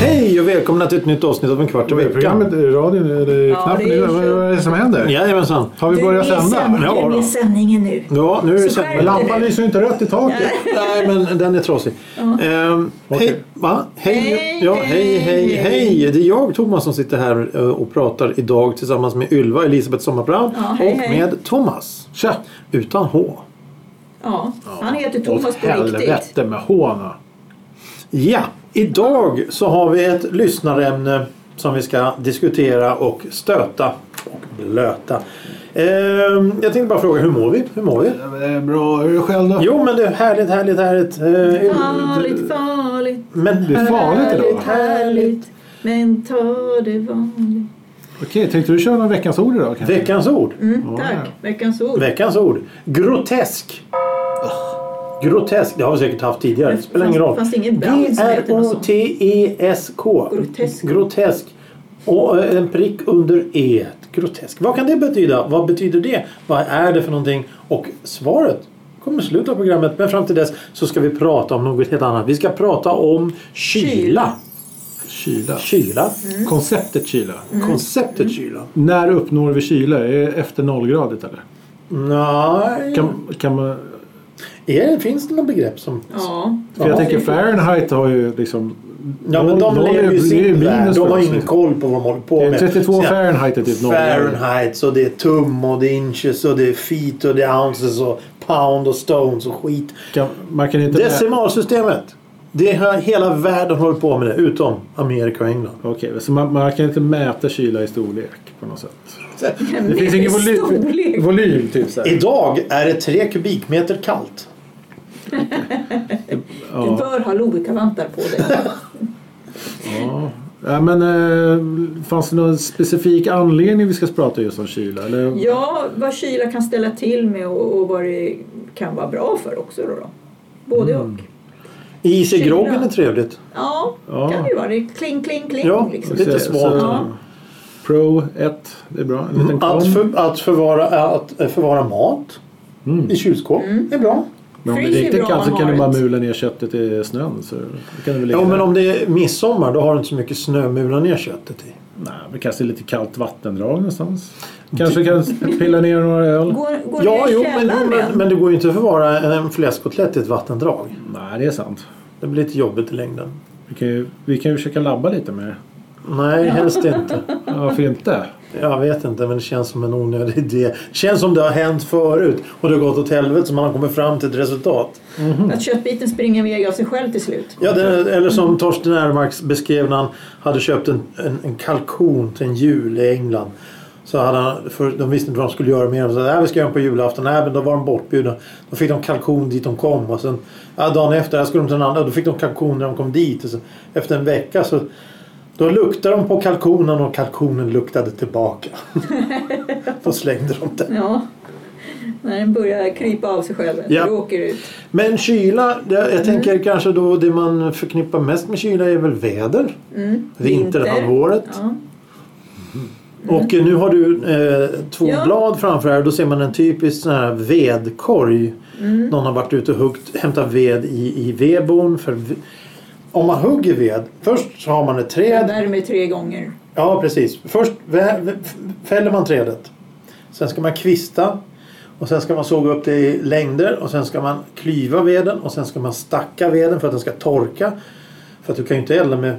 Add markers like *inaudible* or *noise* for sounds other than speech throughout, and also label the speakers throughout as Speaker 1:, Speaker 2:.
Speaker 1: Hej och välkomna till ett nytt avsnitt av En kvart i
Speaker 2: Vad är
Speaker 1: veckan.
Speaker 2: programmet? Radion? Eller
Speaker 3: Ja,
Speaker 2: knappen?
Speaker 3: det är
Speaker 2: Vad- vad är det som händer?
Speaker 1: Jajamensan.
Speaker 2: Har vi börjat
Speaker 4: Du är med i
Speaker 2: sända?
Speaker 4: sändningen-
Speaker 1: Ja,
Speaker 4: Du är med
Speaker 1: då.
Speaker 4: i sändningen nu.
Speaker 1: Ja, nu är det
Speaker 4: Så
Speaker 1: sänd-
Speaker 4: skärp
Speaker 2: Lampan
Speaker 4: dig.
Speaker 2: lyser ju inte rött i taket.
Speaker 1: Nej, men den är trasig. Ehm, hej,
Speaker 2: Okej.
Speaker 1: va? Hej,
Speaker 3: Hej,
Speaker 1: ja, hej, hej,
Speaker 3: hej,
Speaker 1: hej. Det är jag, Thomas, som sitter här eh, och pratar idag tillsammans med Ylva, Elisabeth Sommarbrand och
Speaker 3: hej, hej.
Speaker 1: med Thomas.
Speaker 2: Tja!
Speaker 1: Utan H.
Speaker 3: Ja, han heter
Speaker 2: Åt
Speaker 3: Thomas på riktigt.
Speaker 2: helvete med håna.
Speaker 1: Ja, idag så har vi ett lyssnarämne som vi ska diskutera och stöta och blöta. Ehm, jag tänkte bara fråga, hur mår vi? Hur mår vi?
Speaker 2: eh, Bra, hur är det själv då?
Speaker 1: Jo, men det är härligt, härligt, härligt. Ehm,
Speaker 3: Farligt, farligt,
Speaker 1: men
Speaker 2: Det är farligt
Speaker 3: härligt,
Speaker 2: idag.
Speaker 3: härligt. Men ta det vanligt.
Speaker 2: Okej, tänkte du köra någon veckans ord idag kanske?
Speaker 1: veckans ord.
Speaker 3: Mm, tack, veckans ord.
Speaker 1: Veckans ord. Grotesk. Grotesk. Det har vi säkert haft tidigare. Det spelar ingen roll.
Speaker 3: Fanns det ingen band som heter något sånt?
Speaker 1: G-R-O-T-E-S-K.
Speaker 3: Grotesk.
Speaker 1: E Grotesk. Och eh, en prick under E. Grotesk. Vad kan det betyda? Vad betyder det? Vad är det för någonting? Och svaret kommer i slutet av programmet. Men fram till dess så ska vi prata om något helt annat. Vi ska prata om kyla.
Speaker 2: Kyla.
Speaker 1: Kyla.
Speaker 3: Mm.
Speaker 2: Konceptet kyla.
Speaker 1: Konceptet kyla.
Speaker 2: När uppnår vi kyla? Är det efter nollgradigt eller?
Speaker 1: Nej.
Speaker 2: Kan, kan man,
Speaker 1: Är, finns det något begrepp som...
Speaker 3: Ja.
Speaker 2: för jag tänker Fahrenheit har ju liksom...
Speaker 1: Ja, men de
Speaker 2: noll- noll
Speaker 1: lever
Speaker 2: är-
Speaker 1: ju i
Speaker 2: det är
Speaker 1: sin värld.
Speaker 2: minus
Speaker 1: De
Speaker 2: för
Speaker 1: har
Speaker 2: oss.
Speaker 1: ingen koll på vad de håller på
Speaker 2: Det är
Speaker 1: med.
Speaker 2: 32
Speaker 1: Sina
Speaker 2: Fahrenheit är typ noll.
Speaker 1: Fahrenheit och det är tum och det är inches och det är feet och det är ounces och pound och stones och skit.
Speaker 2: Kan, man kan inte...
Speaker 1: Decimalsystemet. Det har hela världen håller på med det utom Amerika och England.
Speaker 2: Okej, så man, man kan inte mäta kyla i storlek på något sätt? Det
Speaker 3: Men
Speaker 2: finns
Speaker 3: i
Speaker 2: ingen volym,
Speaker 3: storlek.
Speaker 2: volym typ så här.
Speaker 1: Idag är det tre kubikmeter kallt.
Speaker 3: Du
Speaker 2: Ja.
Speaker 3: bör ha Lovikkavantar
Speaker 2: *laughs*
Speaker 3: på dig.
Speaker 2: Ja, men, eh, fanns det någon specifik anledning vi ska prata just om kyla? Eller?
Speaker 3: Ja, vad kyla kan ställa till med och, och vad det kan vara bra för också. Då då. Både
Speaker 2: Mm.
Speaker 3: och.
Speaker 1: Is i
Speaker 3: Kyla.
Speaker 1: groggen är trevligt.
Speaker 3: Ja,
Speaker 2: Ja.
Speaker 3: kan det ju vara. Det är kling, kling, kling.
Speaker 1: Ja,
Speaker 3: liksom.
Speaker 1: lite
Speaker 2: Så-
Speaker 1: svalt.
Speaker 3: Ja.
Speaker 2: Pro 1, det är bra. En liten
Speaker 1: Att,
Speaker 2: kom.
Speaker 1: för, att, förvara, att förvara mat
Speaker 2: Mm.
Speaker 1: i kylskåp är bra.
Speaker 2: Men om det är
Speaker 3: Freeze är
Speaker 2: riktigt
Speaker 3: bra
Speaker 2: kallt så
Speaker 3: om
Speaker 2: kan du bara
Speaker 3: året.
Speaker 2: mula ner köttet i snön. Så det kan du väl
Speaker 1: Ja,
Speaker 2: lägga
Speaker 1: men
Speaker 2: där.
Speaker 1: om det är midsommar då har du inte så mycket snö att mula ner köttet i.
Speaker 2: Nej, men kanske lite kallt vattendrag någonstans. Kanske kan pilla ner några öl.
Speaker 3: Går, går
Speaker 1: Ja,
Speaker 3: ner i
Speaker 1: jo, men,
Speaker 3: källaren
Speaker 1: men,
Speaker 3: men,
Speaker 1: men det går ju inte att förvara en fläskkotlett i ett vattendrag.
Speaker 2: Nej, det är sant.
Speaker 1: Det blir lite jobbigt i längden.
Speaker 2: Vi kan ju, vi kan ju försöka labba lite med det.
Speaker 1: Nej, helst inte.
Speaker 2: Ja, Varför inte?
Speaker 1: Jag vet inte, men det känns som en onödig idé. Det känns som det har hänt förut och det har gått åt helvete så man har kommit fram till ett resultat.
Speaker 3: Att köttbiten springer iväg av sig själv till slut.
Speaker 1: Ja, det, eller som Torsten Ermark beskrev när han hade köpt en, en, en kalkon till en jul i England. Så hade han, för de visste inte vad de skulle göra med den. Så här, vi ska göra den på julafton. Nej, men då var de bortbjudna. Då fick de kalkon dit de kom. Och sen ja, dagen efter här skulle de till en annan. Då fick de kalkon när de kom dit. Och så, efter en vecka så då luktade de på kalkonen och kalkonen luktade tillbaka. då slängde de den.
Speaker 3: Ja. När den börjar krypa av sig själv.
Speaker 1: Ja.
Speaker 3: Då åker det ut.
Speaker 1: Men kyla, det, jag
Speaker 3: Mm.
Speaker 1: tänker kanske då det man förknippar mest med kyla är väl väder.
Speaker 3: Mm.
Speaker 1: Vinterhalvåret.
Speaker 3: Ja.
Speaker 1: Och eh, nu har du eh, två
Speaker 3: Ja.
Speaker 1: blad framför här. Då ser man en typisk sån här vedkorg.
Speaker 3: Mm.
Speaker 1: Någon har varit ute och huggt, hämtat ved i, i vedbon. För v- om man hugger ved, först så har man ett
Speaker 3: Jag
Speaker 1: träd.
Speaker 3: värmer tre gånger.
Speaker 1: Ja, precis. Först vä- vä- f- fäller man trädet. Sen ska man kvista. Och sen ska man såga upp det i längder. Och sen ska man klyva veden. Och sen ska man stacka veden för att den ska torka. För att du kan ju inte elda med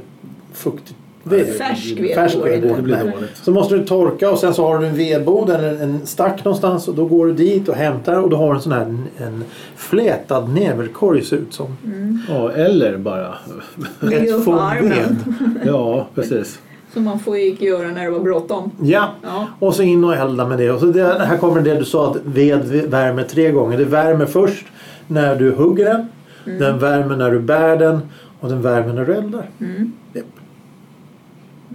Speaker 1: fuktigt ved.
Speaker 3: Färsk ved
Speaker 1: Färsk
Speaker 3: går det
Speaker 1: ved,
Speaker 3: inte.
Speaker 2: Det blir
Speaker 1: Nej.
Speaker 2: dåligt.
Speaker 1: Så måste du torka och sen så har du en vedbod eller en- en stack någonstans och då går du dit och hämtar och då har du en sån här en flätad näverkorg ser ut som.
Speaker 2: Mm. Ja, eller bara...
Speaker 3: Ligger upp på
Speaker 1: fond
Speaker 3: armen.
Speaker 1: ved.
Speaker 2: Ja, precis.
Speaker 3: Som man får ju göra när det var bråttom.
Speaker 1: Ja.
Speaker 3: Ja.
Speaker 1: Och så in och elda med det. Och så det, här kommer det du sa att ved värmer tre gånger. Det värmer först när du hugger den. Den värmer när du bär den. Och den värmer när du eldar.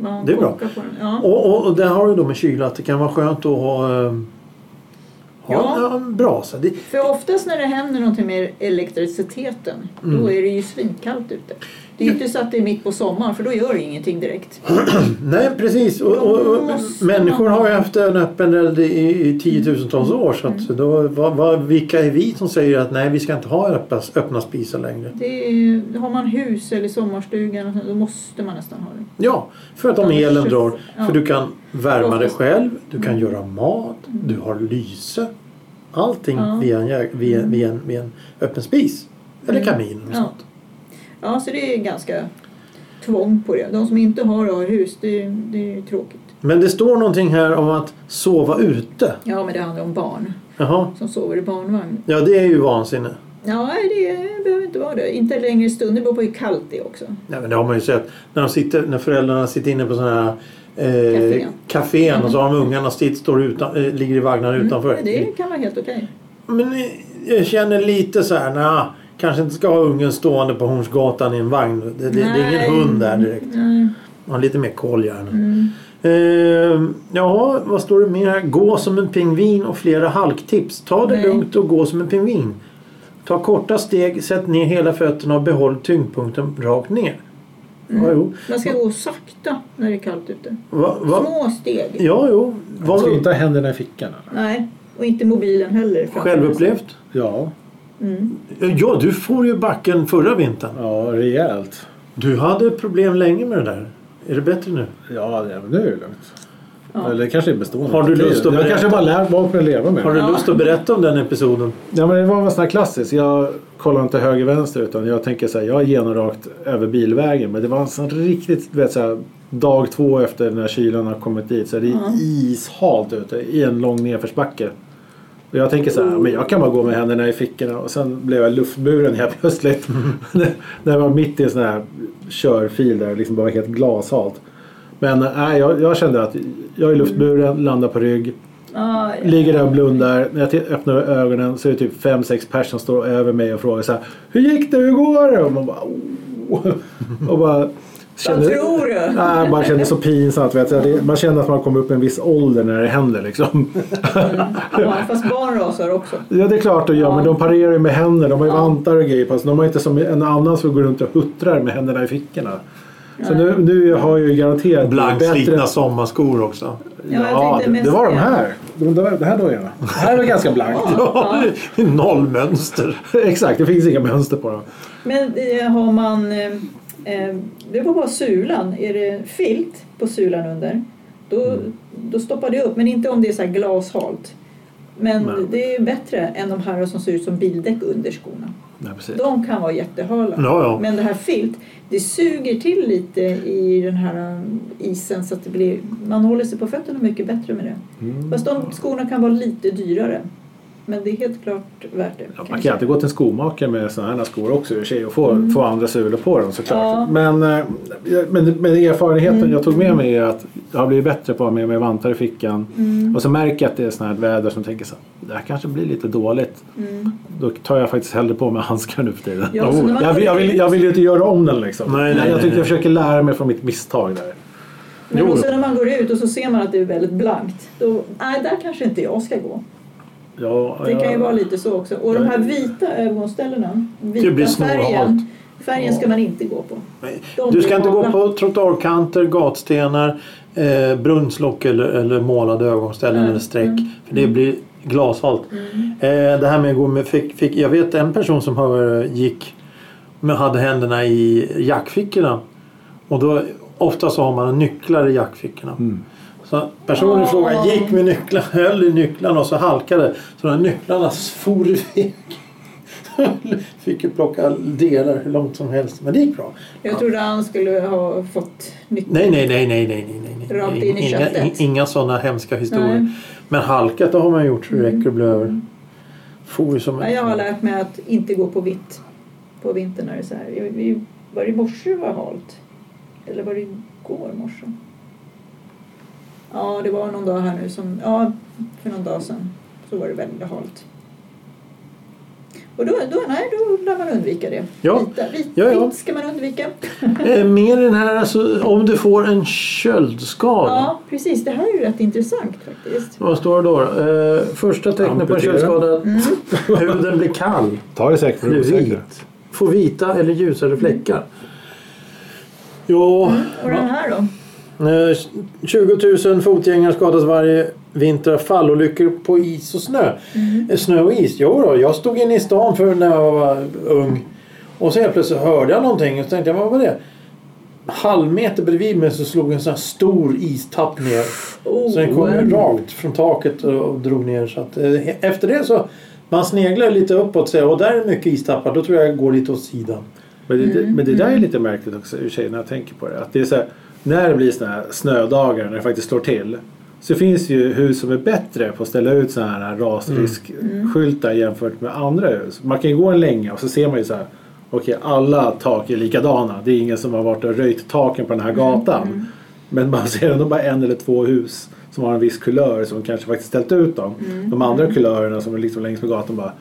Speaker 3: Man
Speaker 1: Det är bra.
Speaker 3: kokar På den. Ja.
Speaker 1: Och, och, och det har ju då med kyla att det kan vara skönt att ehm, ha, eh, Ja,
Speaker 3: Ja.
Speaker 1: ja bra. Så det,
Speaker 3: För oftast när det händer någonting med elektriciteten
Speaker 1: Mm.
Speaker 3: då är det ju svinkallt ute. Det är ju inte så att det är mitt på sommaren för då gör det ingenting direkt.
Speaker 1: nej, precis. Och, och, och,
Speaker 3: Då måste
Speaker 1: människor
Speaker 3: man-
Speaker 1: har ju haft en öppen eld i, i tiotusentals år. Så att då, vad, vad, vilka är vi som säger att nej, vi ska inte ha öppna, öppna spisar längre?
Speaker 3: Det är, har man hus eller sommarstuga eller något sånt, då måste man nästan ha det.
Speaker 1: Ja, för att om
Speaker 3: Utan
Speaker 1: elen
Speaker 3: kyss.
Speaker 1: drar.
Speaker 3: Ja. Mm.
Speaker 1: För du kan värma dig
Speaker 3: Oftast.
Speaker 1: själv, du kan göra mat, du har lyse. Allting
Speaker 3: Ja. Mm.
Speaker 1: via, en, jä- via, via, en, via en öppen spis. Eller kamin. Och
Speaker 3: Ja.
Speaker 1: sånt.
Speaker 3: Ja, så det är ganska tvång på det. De som inte har och har hus, det, är- det är ju tråkigt.
Speaker 1: Men det står någonting här om att sova ute.
Speaker 3: Ja, men det handlar om barn
Speaker 1: Jaha.
Speaker 3: som sover i barnvagn.
Speaker 1: Ja, det är ju vansinne.
Speaker 3: Ja, nej, det behöver inte vara det. Inte längre i stund. Det beror på hur kallt det är också.
Speaker 1: Nej, men det har man ju sett. När, de sitter, när föräldrarna sitter inne på sådana här eh,
Speaker 3: Café.
Speaker 1: kafén och så har de ungarna sitt, står utan, eh, ligger i vagnar utanför.
Speaker 3: Men Mm. det kan vara helt okej.
Speaker 1: Men eh, jag känner lite så här, nja, kanske inte ska ha ungen stående på Hornsgatan i en vagn. Det, det, det är
Speaker 3: Nej. Mm.
Speaker 1: ingen hund där direkt.
Speaker 3: Nej.
Speaker 1: Ha lite mer koll gärna. Eh, ja, vad står det mer här? Gå som en pingvin och flera halktips. Ta det
Speaker 3: Nej.
Speaker 1: lugnt och gå som en pingvin. Ta korta steg, sätt ner hela fötterna och behåll tyngdpunkten rakt ner.
Speaker 3: Mm.
Speaker 1: Ja, jo.
Speaker 3: Man ska gå sakta när det är kallt ute.
Speaker 1: Va, va?
Speaker 3: Små steg.
Speaker 1: Ja, jo.
Speaker 2: Man ska
Speaker 1: Var
Speaker 2: inte ha händerna i fickan. Eller?
Speaker 3: Nej, och inte mobilen heller.
Speaker 1: självupplevt?
Speaker 2: Ja,
Speaker 1: Ja, du får ju backen förra vintern.
Speaker 2: ja, rejält.
Speaker 1: Du hade problem länge med det där. Är det bättre nu?
Speaker 2: Ja, det- men det är ju lugnt.
Speaker 3: Ja.
Speaker 2: Eller det kanske är bestående.
Speaker 1: Har du lust att
Speaker 2: Jag
Speaker 1: berätta?
Speaker 2: kanske bara lär vart jag leva med.
Speaker 1: Har du
Speaker 3: Ja.
Speaker 1: lust att berätta om den episoden?
Speaker 2: Ja, men det var en sån här klassisk. Jag kollar inte höger vänster utan jag tänker så här, jag genar rakt över bilvägen. Men det var en sån riktigt, du vet så här, dag två efter när kylan har kommit dit. Så det är ishalt ute i en lång nedförsbacke. Och jag tänker så här, men jag kan bara gå med händerna i fickorna. Och sen blev jag luftburen helt plötsligt. *laughs* när jag var mitt i en sån här körfil där det liksom bara var helt glashalt. Men nej, jag, jag kände att jag är luftburen, landar på rygg.
Speaker 3: Ja, ja.
Speaker 2: Ligger där och blundar. När jag t- öppnar ögonen så är det typ fem sex personer som står över mig och frågar så här. Hur gick det? Hur går det? Och man bara... "Oh." Och bara
Speaker 3: Vad tror du?
Speaker 2: Nej, jag bara känner så pinsamt. Vet jag. Det, man känner att man kommer upp i en viss ålder när det händer liksom.
Speaker 3: Ja, fast barn rasar också.
Speaker 2: Ja, det är klart de gör.
Speaker 3: Ja.
Speaker 2: Men de parerar ju med händer. De har ju vantar och grejer på sig. De har inte som en annan som går runt och huttrar med händerna i fickorna. Så nu, nu har jag ju garanterat
Speaker 1: Blankslitna sommarskor också. *laughs*
Speaker 3: Ja, jag
Speaker 2: Ja,
Speaker 3: tänkte
Speaker 2: det,
Speaker 3: mest
Speaker 2: det var de
Speaker 3: det.
Speaker 2: här. De, de, det här dojorna. Det här var ganska blankt.
Speaker 1: Noll mönster.
Speaker 2: *laughs* Exakt, det finns inga mönster på dem.
Speaker 3: Men eh, har man... eh, eh, Det var bara sulan. Är det filt på sulan under då,
Speaker 2: Mm.
Speaker 3: då stoppar det upp. Men inte om det är så här glashalt. Men
Speaker 2: Nej.
Speaker 3: det är bättre än de här som ser ut som bildäck under skorna.
Speaker 2: Nej, precis.
Speaker 3: De kan vara jättehala.
Speaker 1: Ja, ja.
Speaker 3: Men det här filt, det suger till lite i den här um, isen så att det blir, man håller sig på fötterna mycket bättre med det.
Speaker 2: Mm.
Speaker 3: Fast de skorna kan vara lite dyrare. Men det är helt klart värt det.
Speaker 2: Ja,
Speaker 3: kan
Speaker 2: man
Speaker 3: jag
Speaker 2: kan
Speaker 3: säga.
Speaker 2: alltid gå till en skomakare med sådana här skor också i och för sig och få, få andra sulor på dem såklart.
Speaker 3: Mm. Ja. Mm.
Speaker 2: Men, eh, men, men erfarenheten jag tog med mig är att jag har blivit bättre på att ha med mig vantar i fickan.
Speaker 3: Mm.
Speaker 2: Och så märker jag att det är sådant här väder som tänker så här, det här kanske blir lite dåligt.
Speaker 3: Mm.
Speaker 2: Då tar jag faktiskt hellre på mig *laughs* handskar nu för tiden.
Speaker 3: Ja, så när man-
Speaker 2: jag, vill, jag, vill, jag vill ju inte göra om den liksom.
Speaker 1: Nej, nej,
Speaker 2: jag,
Speaker 1: nej,
Speaker 2: tycker
Speaker 1: nej.
Speaker 2: jag försöker lära mig från mitt misstag där.
Speaker 3: Men
Speaker 1: Jo.
Speaker 3: då sen när man går ut och så ser man att det är väldigt blankt. Då, nej, där kanske inte jag ska gå.
Speaker 2: Ja,
Speaker 3: Det kan ju
Speaker 2: jag-
Speaker 3: vara lite så också. Och de här vita ögonställena,
Speaker 1: Det blir
Speaker 3: vita
Speaker 1: snårhalt.
Speaker 3: färgen, färgen ska man inte gå på. De
Speaker 1: Du
Speaker 3: blir
Speaker 1: ska inte gå
Speaker 3: hala.
Speaker 1: på trottoarkanter, gatstenar, eh, brunnslock eller, eller målade ögonställen
Speaker 3: Mm.
Speaker 1: eller streck. För det blir glashalt. Eh, det här med att gå med fick, fick, Jag vet en person som har, eh, gick men hade händerna i jackfickorna. Och då, ofta så har man nycklar i jackfickorna. Så personen i fråga
Speaker 3: Åh.
Speaker 1: gick med nycklar, höll i nycklarna och så halkade. Så de här nycklarna for iväg. *laughs* Fick ju plocka delar hur långt som helst. Men det gick bra.
Speaker 3: Jag trodde han skulle ha fått nyckeln.
Speaker 1: Nej, nej, nej, nej, nej, nej, nej.
Speaker 3: Rakt in i
Speaker 1: inga,
Speaker 3: köttet.
Speaker 1: Inga sådana hemska historier.
Speaker 3: Nej. Mm.
Speaker 1: Men halkat, det har man gjort så det räcker och blir över. For ju som
Speaker 3: Ja,
Speaker 1: en...
Speaker 3: jag har lärt mig att inte gå på vitt på vintern när det är så här. Vi- vi- Var det i morse det var halt? Eller var det igår morse? Ja, det var någon dag här nu som... Ja, för någon dag sedan så var det väldigt halt. Och då, då, nej, då lär man undvika det.
Speaker 1: Ja.
Speaker 3: Vita, vit,
Speaker 1: Ja, ja.
Speaker 3: vitt ska man undvika.
Speaker 1: Eh, Mer i den här, alltså, om du får en köldskada.
Speaker 3: Ja, precis. Det här är ju rätt intressant faktiskt.
Speaker 1: Vad står det då? Eh, första tecknet på en
Speaker 2: Amputera.
Speaker 1: köldskada.
Speaker 3: Mm.
Speaker 1: Huden blir kall.
Speaker 2: Ta det säkert för
Speaker 1: Blir
Speaker 2: det osäkra.
Speaker 1: vit. Får vita eller ljusare fläckar. Jo,
Speaker 3: Mm, Och den här då?
Speaker 1: eh, 20 000 fotgängare skadas varje vinter av fallolyckor på is och snö. Eh, Snö och is? Jo då, jag stod inne i stan för när jag var ung. Och så helt plötsligt hörde jag någonting och så tänkte jag, vad var det? Halvmeter bredvid mig så slog en sån här stor istapp ner.
Speaker 3: Oh.
Speaker 1: Så den kom rakt från taket och drog ner. Så att, eh, efter det så man sneglar lite uppåt och säger och där är mycket istappar. Då tror jag jag går lite åt sidan.
Speaker 2: Men det, men det där är lite märkligt också i och för sig när jag tänker på det. Att det är så här, när det blir såna här snödagar när det faktiskt slår till. Så finns det ju hus som är bättre på att ställa ut såna här rasriskskyltar jämfört med andra hus. Man kan ju gå en länge och så ser man ju så här. Okej, alla tak är likadana. Det är ingen som har varit och röjt taken på den här gatan. Men man ser ändå bara en eller två hus som har en viss kulör som kanske faktiskt ställt ut dem. De andra kulörerna som är liksom längs med gatan bara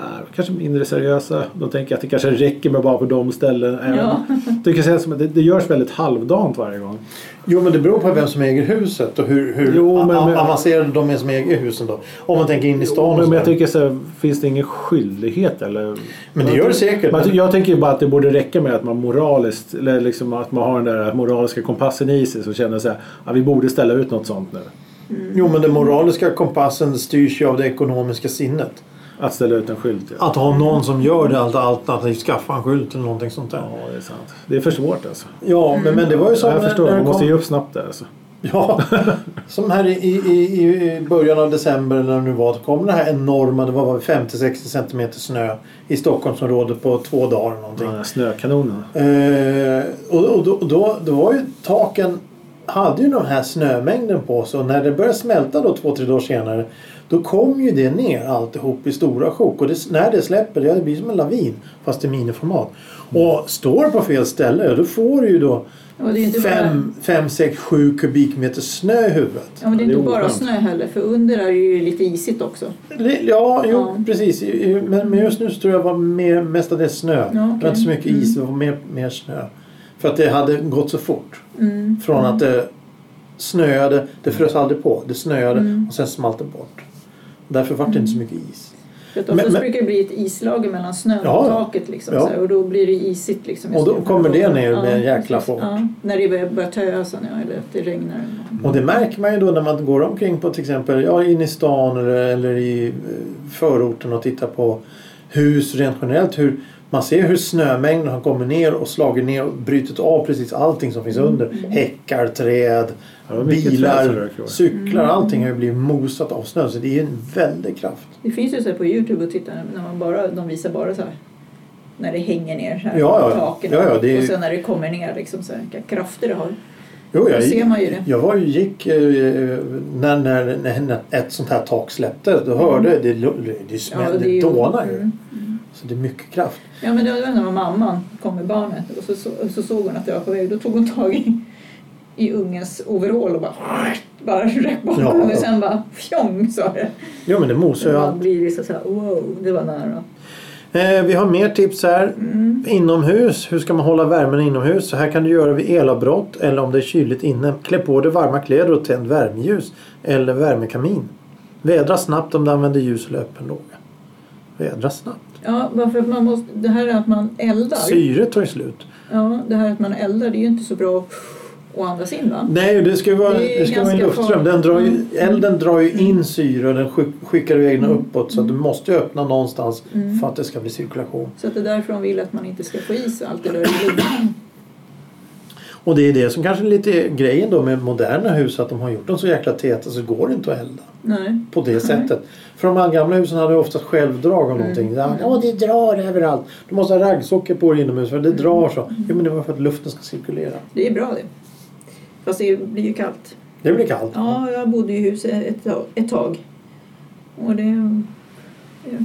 Speaker 2: är kanske mindre seriösa. De tänker att det kanske räcker med bara på de ställen. även.
Speaker 3: Ja.
Speaker 2: *laughs* Det, kan sägas som att det, det görs väldigt halvdant varje gång.
Speaker 1: Jo men det beror på vem som äger huset och hur, hur
Speaker 2: Jo, men-
Speaker 1: a- a-
Speaker 2: men-
Speaker 1: avancerade de är som äger husen då. Om man tänker in i stan. och
Speaker 2: Men, men
Speaker 1: sådär.
Speaker 2: jag tycker så här, finns det ingen skyldighet eller?
Speaker 1: men det gör det säkert.
Speaker 2: Man, jag tänker ju bara att det borde räcka med att man moraliskt, eller liksom att man har den där moraliska kompassen i sig som känner så här, att vi borde ställa ut något sånt nu.
Speaker 1: Jo men den moraliska kompassen styrs ju av det ekonomiska sinnet.
Speaker 2: Att ställa ut en skylt. Ja.
Speaker 1: Att ha någon som gör det allt- alternativt skaffa en skylt eller någonting sånt där.
Speaker 2: ja, det är sant. Det är för svårt alltså.
Speaker 1: Ja men, men det var ju så
Speaker 2: jag
Speaker 1: när-
Speaker 2: förstår,
Speaker 1: när det
Speaker 2: man måste
Speaker 1: kom-
Speaker 2: ge upp snabbt där alltså.
Speaker 1: *laughs* Ja, som här i, i, i- i början av december när det nu var, då kom det här enorma, det var 50-60 centimeter snö i Stockholmsområdet på två dagar eller någonting.
Speaker 2: Den här snökanonen.
Speaker 1: Eh, och och då, då, då var ju taken, hade ju den här snömängden på sig och när det började smälta då två, tre dagar senare då kom ju det ner alltihop i stora sjok och det, när det släpper det blir som en lavin fast i miniformat. Och står på fel ställe då får du ju då
Speaker 3: Och Mm. det är ju inte bara,
Speaker 1: 5, 6, 7 kubikmeter snö i huvudet.
Speaker 3: ja, men det är
Speaker 2: Det är
Speaker 3: inte bara
Speaker 2: oskönt.
Speaker 3: snö heller för under är det ju lite isigt också.
Speaker 1: Li- Ja, jo,
Speaker 3: Ja.
Speaker 1: precis. I- i- Men men just nu så tror jag det var mer, mestadels snö. Det
Speaker 3: Ja,
Speaker 1: var
Speaker 3: okej. Mm.
Speaker 1: inte så mycket is, det var mer, mer snö. För att det hade gått så fort.
Speaker 3: Mm.
Speaker 1: Från att det snöade, det frös aldrig på, det snöade och sen smalt det bort. Därför var det inte så mycket is.
Speaker 3: För att
Speaker 1: Men-
Speaker 3: oftast
Speaker 1: men-
Speaker 3: brukar det bli ett islager mellan snön och
Speaker 1: Ja, ja.
Speaker 3: taket liksom,
Speaker 1: Ja.
Speaker 3: så här, och då blir det isigt. Liksom, i
Speaker 1: Och då
Speaker 3: slutet.
Speaker 1: kommer det ner med en
Speaker 3: Ja,
Speaker 1: jäkla
Speaker 3: precis.
Speaker 1: fart.
Speaker 3: Ja, när det börjar, börjar tösa nu eller att det regnar. eller något.
Speaker 1: Och det märker man ju då när man går omkring på till exempel ja, in i stan eller, eller i eh, förorten och tittar på hus rent generellt. Hur, man ser hur snömängden har kommit ner och slagit ner och brutit av precis allting som finns under. Häckar, träd,
Speaker 2: Ja, det var mycket träd som
Speaker 1: bilar,
Speaker 2: rök i år.
Speaker 1: cyklar. Allting har ju blivit mosat av snö så det är en väldig kraft.
Speaker 3: Det finns ju så här på Youtube att titta när man bara, de visar bara så här när det hänger ner så här
Speaker 1: Ja,
Speaker 3: på
Speaker 1: ja.
Speaker 3: taken
Speaker 1: Ja, ja, det är-
Speaker 3: och sen när det kommer ner liksom så här, vilka krafter det har.
Speaker 1: Jo,
Speaker 3: Då ser man ju det.
Speaker 1: Jag var ju gick eh, när, när, när ett sånt här tak släppte. Då hörde jag det, det, det smällde,
Speaker 3: Mm. det är ju-
Speaker 1: dånade ju.
Speaker 3: Mm.
Speaker 1: Så det är mycket kraft.
Speaker 3: Ja men det var när mamman kom med barnet och så, så, så såg hon att det var på väg. Då tog hon tag i, i ungens overall och bara, bara rätt bakom
Speaker 1: Ja.
Speaker 3: och sen bara fjong sa det.
Speaker 1: Jo men det mosar ju
Speaker 3: Så
Speaker 1: allt.
Speaker 3: man blir liksom såhär wow, det var nära.
Speaker 1: Eh, vi har mer tips här.
Speaker 3: Mm.
Speaker 1: Inomhus, hur ska man hålla värmen inomhus? Så här kan du göra vid elavbrott eller om det är kyligt inne. Klä på dig varma kläder och tänd värmeljus eller värmekamin. Vädra snabbt om du använder ljus eller öppen låga. Vädra snabbt.
Speaker 3: Ja, bara för att man måste, det här att man eldar,
Speaker 1: Syret tar ju slut.
Speaker 3: ja, det här att man eldar det är ju inte så bra att andas in va?
Speaker 1: Nej, det ska ju vara,
Speaker 3: Det är
Speaker 1: det ska vara en
Speaker 3: ganska
Speaker 1: luftström. Den drar ju,
Speaker 3: farligt. Mm.
Speaker 1: elden drar ju in syre och den skick- skickar iväg den uppåt. Så att du
Speaker 3: Mm.
Speaker 1: måste ju öppna någonstans för att det ska bli cirkulation.
Speaker 3: Så att det är därför de vill att man inte ska få is allt det där i lungorna.
Speaker 1: Och det är det som kanske är lite grejen då med moderna hus. Att de har gjort dem så jäkla täta så går det inte att elda.
Speaker 3: Nej.
Speaker 1: på det sättet. För de här gamla husen hade ju oftast självdrag av någonting.
Speaker 3: Mm.
Speaker 1: Ja, "Åh, det drar överallt. Du måste ha raggsockor på dig inomhus för det
Speaker 3: Mm.
Speaker 1: drar så. Jo, men det var för att luften ska cirkulera.
Speaker 3: Det är bra det. Fast det blir ju kallt.
Speaker 1: Det blir kallt.
Speaker 3: Ja, jag bodde i hus ett, tag- ett tag. Och det,
Speaker 1: ja,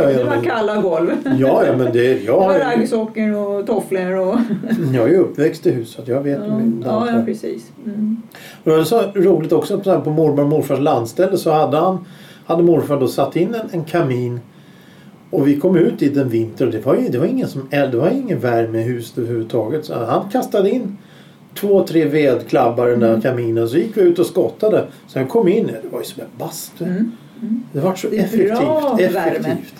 Speaker 1: ja,
Speaker 3: det var
Speaker 1: men,
Speaker 3: kalla golv.
Speaker 1: ja, ja men det...
Speaker 3: Det var
Speaker 1: Jag, jag,
Speaker 3: raggsockor och tofflor och...
Speaker 1: jag är ju uppväxt i hus så att jag vet
Speaker 3: Ja,
Speaker 1: ju allt
Speaker 3: ja,
Speaker 1: det.
Speaker 3: ja precis. Mm.
Speaker 1: Det var så roligt också på, så här, på mormor och morfars landställe så hade han hade morfar då satt in en, en kamin Och vi kom ut i den vinter och det var, ju, det var, ingen, som, eld- det var ingen värme i huset överhuvudtaget. Så han kastade in två, tre vedklabbar i den där
Speaker 3: Mm.
Speaker 1: kaminen. Så gick vi ut och skottade. Sen kom vi in. Det var ju som en bastu.
Speaker 3: Mm.
Speaker 1: Det var så
Speaker 3: Det är
Speaker 1: effektivt.
Speaker 3: bra värme.
Speaker 1: effektivt.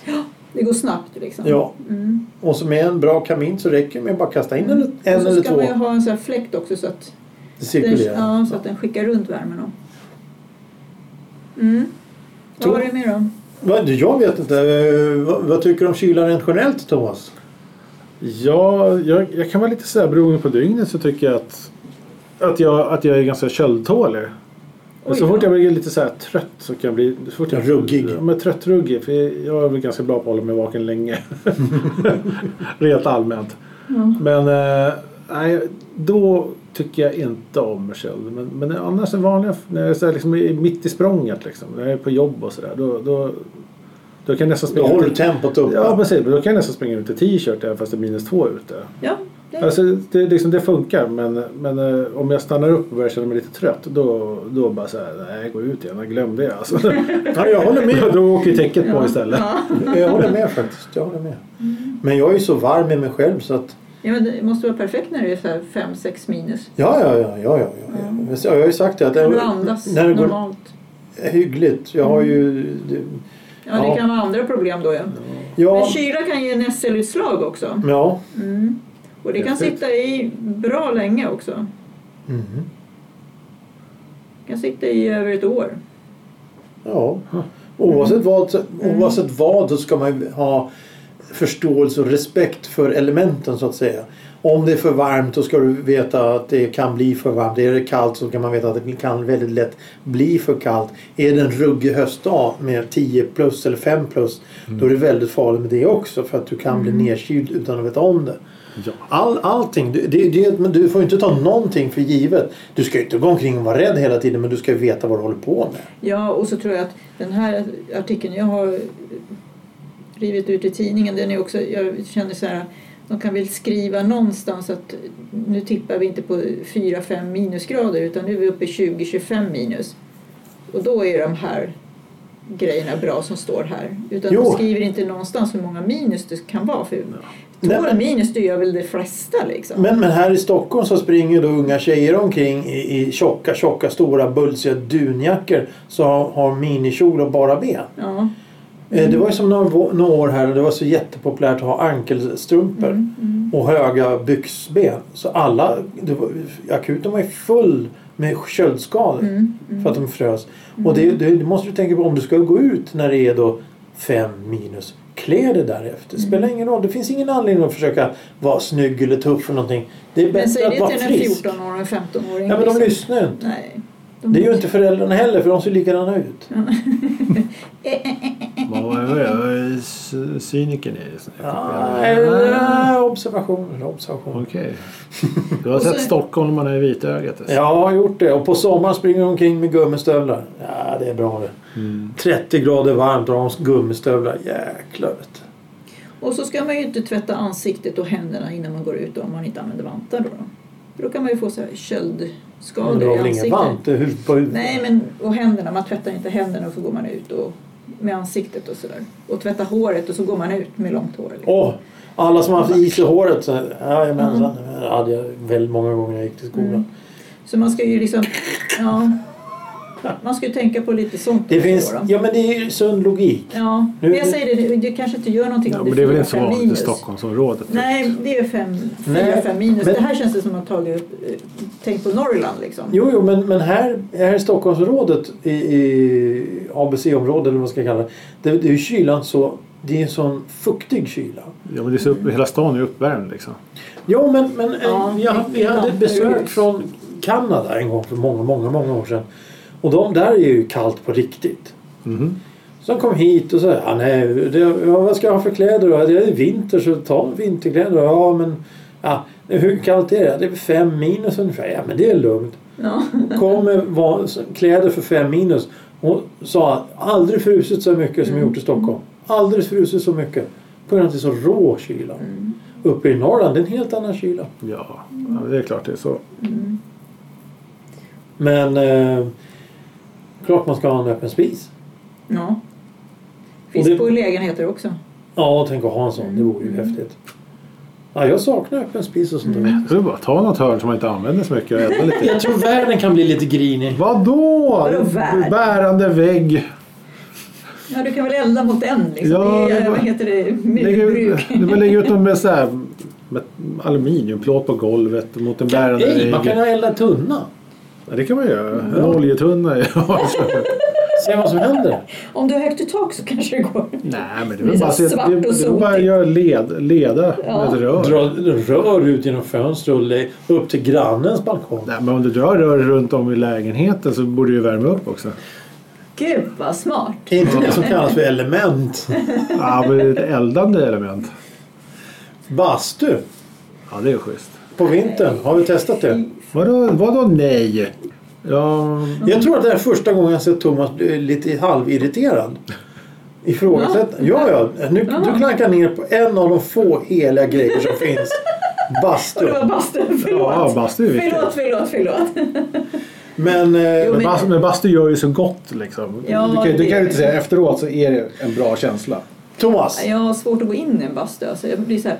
Speaker 3: Det går snabbt liksom.
Speaker 1: Ja.
Speaker 3: Mm.
Speaker 1: Och så med en bra kamin så räcker det med att bara kasta in en, en
Speaker 3: och så
Speaker 1: eller
Speaker 3: ska man ju
Speaker 1: två.
Speaker 3: ha en sån här fläkt också så att,
Speaker 1: Det
Speaker 3: den,
Speaker 1: cirkulerar.
Speaker 3: ja, så att den skickar runt värmen. då. Mm. Vad
Speaker 1: Tror-
Speaker 3: var det mer då?
Speaker 1: Vad- Jag vet inte. Eh, Vad, vad tycker du om kylan rent generellt Thomas?
Speaker 2: Ja, jag, jag kan vara lite sådär beroende på dygnet så tycker jag att, att, jag, att jag är ganska köldtålig. Men
Speaker 3: Oj
Speaker 2: så
Speaker 3: då.
Speaker 2: fort jag blir lite så här trött så kan jag bli... Så fort jag,
Speaker 1: Ruggig.
Speaker 2: Ja, men trött ruggig. För jag är väl ganska bra på att hålla mig vaken länge. *laughs* Rent allmänt.
Speaker 3: Ja.
Speaker 2: Men eh, nej, då tycker jag inte om köld. Men, men annars en vanliga, när jag är så här liksom i- mitt i språnget liksom. När jag är på jobb och sådär. Då, då, då kan jag
Speaker 1: Då
Speaker 2: nästan springa
Speaker 1: håller du
Speaker 2: ut i-
Speaker 1: tempot uppe.
Speaker 2: Ja precis, men då kan jag nästan springa ut i t-shirt även fast det är minus två ute.
Speaker 3: Ja, det är
Speaker 2: Alltså, det, är liksom, det funkar men, men eh, om jag stannar upp och börjar känna mig lite trött då, då bara såhär, nej gå ut igen, jag glömde det
Speaker 3: *laughs*
Speaker 2: alltså.
Speaker 1: Ja, jag håller med.
Speaker 2: *laughs* då åker ju täcket på
Speaker 3: Ja.
Speaker 2: istället.
Speaker 3: Ja.
Speaker 1: Jag håller med faktiskt. Jag håller med.
Speaker 3: Mm.
Speaker 1: Men jag är ju så varm med mig själv så att
Speaker 3: Ja, men det måste vara perfekt när det är så här 5-6 minus.
Speaker 1: ja, ja, ja, ja, ja, ja. Men så- Jag har ju sagt det att
Speaker 3: Kan
Speaker 1: när,
Speaker 3: Mm. du andas
Speaker 1: när det går
Speaker 3: normalt?
Speaker 1: hyggligt. Jag har ju... det-
Speaker 3: Ja, det
Speaker 1: Ja.
Speaker 3: kan vara andra problem då ja. Men
Speaker 1: Ja,
Speaker 3: kyla kan ge nässelutslag också.
Speaker 1: ja.
Speaker 3: Mm. Och det kan
Speaker 2: Häftigt.
Speaker 3: sitta i bra länge också.
Speaker 1: Mhm.
Speaker 3: Det kan sitta i över ett år.
Speaker 1: ja. Oavsett, vad, så- oavsett vad så ska man ju ha förståelse och respekt för elementen så att säga. Om det är för varmt då ska du veta att det kan bli för varmt. Är det kallt så kan man veta att det kan väldigt lätt bli för kallt. Är det en ruggig höstdag med 10 plus eller 5 plus då är det väldigt farligt med det också för att du kan bli nedkyld utan att veta om det.
Speaker 2: Ja.
Speaker 1: All, allting. Du, det, det, men du får ju inte ta någonting för givet. Du ska ju inte gå omkring och vara rädd hela tiden men du ska ju veta vad du håller på med.
Speaker 3: Ja, och så tror jag att den här artikeln jag har rivit ut i tidningen, den är också, jag känner så här, de kan väl skriva någonstans att nu tippar vi inte på 4-5 minusgrader utan nu är vi uppe i 20-25 minus. Och då är de här grejerna bra som står här. Utan
Speaker 1: Jo.
Speaker 3: de skriver inte någonstans hur många minus det kan vara. För
Speaker 1: Nej,
Speaker 3: tolv
Speaker 1: men-
Speaker 3: minus, det gör väl de flesta liksom.
Speaker 1: Men, men här i Stockholm så springer ju då unga tjejer omkring i, i tjocka, tjocka, stora, bulsiga dunjackor som har, har minikjol och bara ben.
Speaker 3: Ja.
Speaker 1: Eh, Det var ju som några, vå- några år här, det var så jättepopulärt att ha ankelstrumpor och höga byxben. Så alla, det var, akuten var ju full med köldskador
Speaker 3: Mm.
Speaker 1: för att de frös. Och det, det, det måste du tänka på om du ska gå ut när det är då fem minus. Klä dig därefter.
Speaker 3: Mm.
Speaker 1: Det spelar ingen roll. Det finns ingen anledning att försöka vara snygg eller tuff eller någonting. Det är
Speaker 3: Men
Speaker 1: bättre
Speaker 3: säg
Speaker 1: att
Speaker 3: det
Speaker 1: vara
Speaker 3: till en
Speaker 1: frisk.
Speaker 3: 14-åring, 15-åring.
Speaker 1: Ja, men de
Speaker 3: liksom.
Speaker 1: lyssnar ju inte.
Speaker 3: Nej. De
Speaker 1: Det är ju
Speaker 3: lyssnar.
Speaker 1: inte föräldrarna heller för de ser likadana ut.
Speaker 2: Cynikern är just
Speaker 1: Ah, eh, observationer, observationer.
Speaker 2: Okej. Du har
Speaker 3: Och
Speaker 2: sett
Speaker 3: så-
Speaker 2: stockholmarna i vitögat? alltså.
Speaker 1: Ja, jag har gjort det. Och på sommaren springer de omkring med gummistövlar. Ja, det är bra det.
Speaker 2: Mm.
Speaker 1: 30 grader varmt och de har gummistövlar. Jäklar vet du.
Speaker 3: Och så ska man ju inte tvätta ansiktet och händerna innan man går ut om man inte använder vantar då. då. För då kan man ju få så här
Speaker 1: Men
Speaker 3: köldskador
Speaker 1: det var
Speaker 3: i
Speaker 1: väl ingen
Speaker 3: ansiktet.
Speaker 1: varmt i huvudet på huvudet?
Speaker 3: Nej, men och händerna. Man tvättar inte händerna och så går man ut och, med ansiktet och sådär. Och tvätta håret och så går man ut med långt hår. liksom.
Speaker 1: Åh! alla som har haft is i håret. Så, jajamensan. Det hade jag väldigt många gånger när jag gick till skolan.
Speaker 3: Så man ska ju liksom... Ja, man ska ju tänka på lite sånt
Speaker 1: Det
Speaker 3: också
Speaker 1: finns...
Speaker 3: då, då.
Speaker 1: Ja, men det är ju sund logik.
Speaker 3: Ja,
Speaker 1: Nu-
Speaker 3: men jag säger det, det, det kanske inte gör någonting
Speaker 2: Ja,
Speaker 3: om
Speaker 2: men det
Speaker 3: det
Speaker 2: är väl
Speaker 3: fyra,
Speaker 2: inte så
Speaker 3: fem
Speaker 2: vanligt i
Speaker 3: minus.
Speaker 2: Stockholmsområdet? typ.
Speaker 3: Nej, det är fem, fyra,
Speaker 1: Nej,
Speaker 3: fem minus.
Speaker 1: men-
Speaker 3: Det här känns det som att man tagit upp, eh, tänkt på Norrland liksom.
Speaker 1: Jo, jo men, men här, här i Stockholmsområdet, i, i ABC-området eller vad man ska kalla det. Det, det är ju kylan så... Det är en sån fuktig kyla.
Speaker 2: Ja, men det är så upp, hela stan är uppvärmd liksom.
Speaker 1: Jo, men, men eh,
Speaker 3: Ja,
Speaker 1: jag, vi hade ett besök från Kanada en gång för många, många, många år sedan. Och de där är ju kallt på riktigt.
Speaker 2: Mhm.
Speaker 1: Så de kom hit och sa ja, nej, det, ja, vad ska jag ha för kläder då? Det är vinter så ta vinterkläder. Ja, men ja, hur kallt är det? Det är fem minus ungefär. Ja, men det är lugnt.
Speaker 3: Ja.
Speaker 1: Kom med va- kläder för fem minus. Hon sa att aldrig frusit så mycket som jag gjort i Stockholm. Aldrig frusit så mycket. På grund av att det är så rå kyla. Uppe i Norrland, det är en helt annan kyla.
Speaker 2: Ja,
Speaker 3: Mm.
Speaker 2: ja, det är klart det är så.
Speaker 1: Men eh, klart man ska ha en öppen spis.
Speaker 3: Ja. Finns
Speaker 1: Och det-
Speaker 3: på lägenheter också.
Speaker 1: Ja, tänk att ha en sån. Det vore ju häftigt. Ja, jag saknar öppen spis och sånt där.
Speaker 2: Jag vill bara ta något hörn som man inte använder så mycket och elda
Speaker 3: *laughs*
Speaker 2: lite.
Speaker 1: Jag tror världen kan bli lite grinig.
Speaker 2: Vadå?
Speaker 3: Vadå värld?
Speaker 2: Bärande vägg.
Speaker 3: Ja, du kan väl elda mot en liksom.
Speaker 2: Ja,
Speaker 3: det
Speaker 2: det
Speaker 3: är,
Speaker 2: var-
Speaker 3: vad heter det,
Speaker 2: Lägg ut,
Speaker 3: myrbruk.
Speaker 2: *laughs* du vill lägga ut dem med, så här, med aluminiumplåt på golvet mot en bärande
Speaker 1: Nej, man
Speaker 2: vägg.
Speaker 1: kan elda tunna.
Speaker 2: Ja, Det kan man göra. En oljetunna. *laughs* Ja.
Speaker 1: Se vad som händer.
Speaker 3: Om du har högt i tak så kanske det går.
Speaker 2: Nej, men det
Speaker 3: Det är
Speaker 2: är bara att
Speaker 3: så svart
Speaker 2: det-
Speaker 3: och
Speaker 2: det är
Speaker 3: sotigt.
Speaker 2: bara att göra led, leda med ett rör.
Speaker 1: Dra rör ut genom fönstret och le- upp till grannens balkong.
Speaker 2: Nej, men om du drar rör runt om i lägenheten så borde du ju värma upp också.
Speaker 3: Gud vad smart.
Speaker 1: Det är inte det som kallas för element.
Speaker 2: Ja, men det är ett eldande element.
Speaker 1: Bastu
Speaker 2: Ja, det är schysst.
Speaker 1: på vintern. Har vi testat det?
Speaker 2: Vadå, vadå nej? Ja,
Speaker 1: Jag tror att det är första gången jag sett Thomas bli lite halvirriterad. Ifrågasätt. Ja, ja. Nu, du klankar ner på en av de få heliga grejer som finns.
Speaker 3: Och
Speaker 1: Bastu.
Speaker 3: det var bastun, förlåt.
Speaker 2: ja bastu är viktigt.
Speaker 3: förlåt, förlåt, förlåt.
Speaker 1: Men... Eh,
Speaker 2: Men
Speaker 3: Jo, men-
Speaker 2: bastu, men bastu gör ju så gott liksom.
Speaker 3: Ja,
Speaker 2: du kan, ju- du
Speaker 3: det-
Speaker 2: kan ju inte säga efteråt så är det en bra känsla.
Speaker 1: Thomas.
Speaker 3: Jag har svårt att gå in i en bastu. Alltså. Jag blir så här,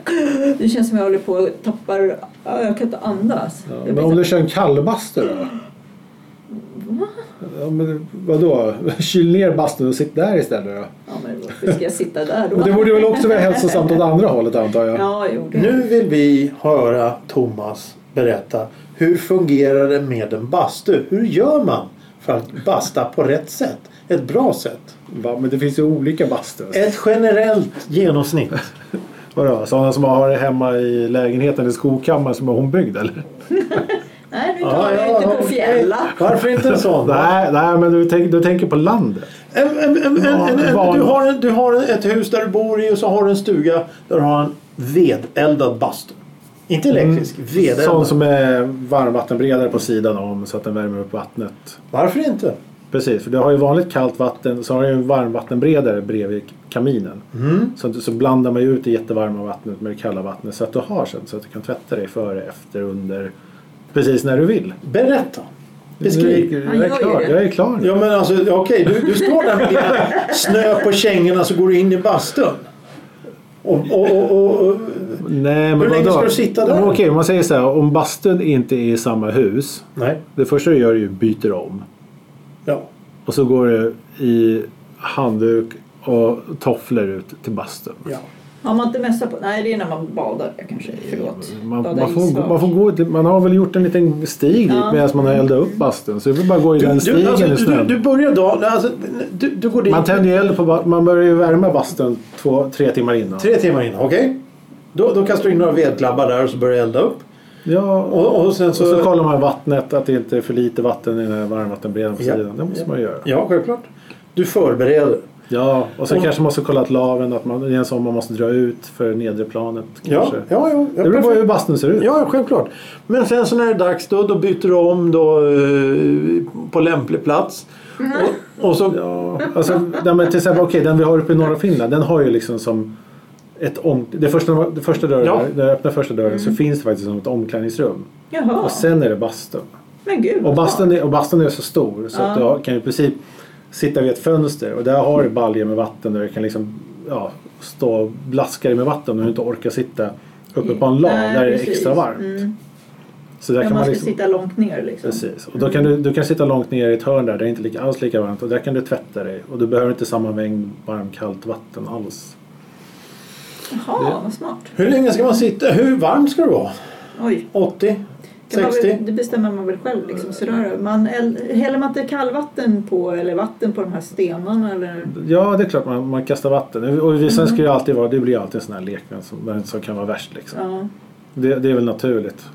Speaker 3: det känns som jag håller på att tappar... ja, Jag kan inte andas.
Speaker 2: Ja,
Speaker 3: Jag
Speaker 2: men
Speaker 3: blir
Speaker 2: om
Speaker 3: så
Speaker 2: du kör en kallbastu då? Ja, men vadå? Kyl ner bastun och sitt där istället då?
Speaker 3: här, ja, men varför ska jag sitta där då?
Speaker 2: Men det borde väl också vara hälsosamt åt andra hållet antar jag?
Speaker 3: Ja, jo, det.
Speaker 1: Nu vill vi höra Thomas berätta hur fungerar det med en bastu? Hur gör man för att basta på rätt sätt? Ett bra sätt?
Speaker 2: Va, men det finns ju olika bastu.
Speaker 3: Eh.
Speaker 1: Ett generellt genomsnitt.
Speaker 2: Vadå, sådana som har det hemma i lägenheten i skokammaren som är ombyggd eller?
Speaker 3: Nej, nu tar jag inte på
Speaker 1: okej.
Speaker 3: fjälla.
Speaker 1: Varför inte en sån?
Speaker 2: Nej, nej men du, tänk, du tänker på landet.
Speaker 1: En, en, en, en, en, en,
Speaker 2: Van-
Speaker 1: du, har en, du har ett hus där du bor i och så har du en stuga där du har en vedeldad bastu. Inte elektrisk, vedeldad.
Speaker 2: Mm. Sån som är varmvattenberedare på sidan om så att den värmer upp vattnet.
Speaker 1: Varför inte?
Speaker 2: Precis, för du har ju vanligt kallt vatten så har du ju en varmvattenberedare bredvid kaminen.
Speaker 1: Mm.
Speaker 2: Så, att- så blandar man ju ut det jättevarma vattnet med det kalla vattnet så att du har sen så att du kan tvätta dig före, efter, under. Precis när du vill.
Speaker 1: Berätta.
Speaker 2: Nu
Speaker 1: Beskriv.
Speaker 2: är- Jag
Speaker 3: Han gör
Speaker 2: är klar,
Speaker 3: ju det.
Speaker 2: jag är klar nu.
Speaker 1: Ja men alltså ja, okej, du, du står där med dina snö på kängorna så går du in i bastun. Och, och, och, och, och
Speaker 2: Nej, men
Speaker 1: Hur länge
Speaker 2: vadå?
Speaker 1: ska du sitta där?
Speaker 2: Men Okej, om man säger så här, om bastun inte är i samma hus.
Speaker 1: Nej.
Speaker 2: Det första du gör är ju byter om.
Speaker 1: Ja.
Speaker 2: Och så går du i handduk och tofflor ut till bastun.
Speaker 1: ja.
Speaker 3: Har man inte mössa på... Nej, det är när man badar jag kanske. Förlåt.
Speaker 2: Man,
Speaker 3: Badar
Speaker 2: man,
Speaker 3: isvak.
Speaker 2: får, man, får gå, till- man har väl gjort en liten stig dit
Speaker 3: Ja.
Speaker 2: medan man har eldat upp bastun. Så det vill bara att gå i
Speaker 1: Du,
Speaker 2: den stigen
Speaker 1: du, alltså,
Speaker 2: i
Speaker 1: du, du,
Speaker 2: snön.
Speaker 1: du börjar dagen, alltså, du, du går dit
Speaker 2: man tänder ju eld på ba- Man börjar ju värma bastun två, tre timmar innan.
Speaker 1: tre timmar innan, okej? Då, då kastar du in några vedklabbar där och så börjar du elda upp.
Speaker 2: Ja, och,
Speaker 1: Och, och sen så...
Speaker 2: så, så kollar man vattnet, att det inte är för lite vatten i den här varmvattenberedaren på
Speaker 1: Ja.
Speaker 2: sidan. Det måste man ju göra.
Speaker 1: ja, självklart. Du förbereder.
Speaker 2: Ja, och sen
Speaker 1: Och-
Speaker 2: kanske man måste kolla att laven, att man, det är en sån man måste dra ut för nedre planet
Speaker 1: Ja,
Speaker 2: kanske.
Speaker 1: ja, ja. ja
Speaker 2: Det beror på
Speaker 1: perfekt.
Speaker 2: hur bastun ser ut.
Speaker 1: Ja, självklart. Men sen så när det är dags då, då byter du om då, eh, på lämplig plats.
Speaker 3: Mm.
Speaker 1: Och, och så...
Speaker 2: Ja, alltså, nej, men till exempel, okej, den vi har uppe i norra Finland, den har ju liksom som ett om... Det första, det första dörren,
Speaker 1: Ja.
Speaker 2: där, när jag öppnar första dörren
Speaker 3: Mm.
Speaker 2: så finns det faktiskt som ett omklädningsrum.
Speaker 3: Jaha.
Speaker 2: Och sen är det bastun.
Speaker 3: Men gud.
Speaker 2: Och bastun är, och bastun är så stor så att du har- kan i princip sitta vid ett fönster och där har du baljor med vatten där du kan liksom ja, stå och blaska dig med vatten om du inte orkar sitta uppe på en lav
Speaker 3: Mm. Nej,
Speaker 2: där det är
Speaker 3: precis.
Speaker 2: extra varmt.
Speaker 3: Mm.
Speaker 2: Så där
Speaker 3: Men
Speaker 2: kan
Speaker 3: man
Speaker 2: man
Speaker 3: ska
Speaker 2: liksom,
Speaker 3: sitta långt ner liksom.
Speaker 2: Precis. Och då kan du, du kan sitta långt ner i ett hörn där, det är inte lika, alls lika varmt och där kan du tvätta dig och du behöver inte samma mängd varmkallt vatten alls.
Speaker 3: Jaha, vad smart.
Speaker 1: Hur länge ska man sitta? Hur varm ska det vara?
Speaker 3: Oj.
Speaker 1: 80?
Speaker 3: Kan man
Speaker 1: 60?
Speaker 3: Väl, det bestämmer man väl själv. Liksom, sådär. Man, el- häller man inte kallvatten på eller vatten på de här stenarna? Eller?
Speaker 2: Ja, det är klart man, man kastar vatten. Och vi- sen
Speaker 3: Mm.
Speaker 2: ska det alltid vara, det blir alltid en sån här lekman som, men som kan vara värst liksom.
Speaker 3: Ja. mm,
Speaker 2: Det, det är väl naturligt.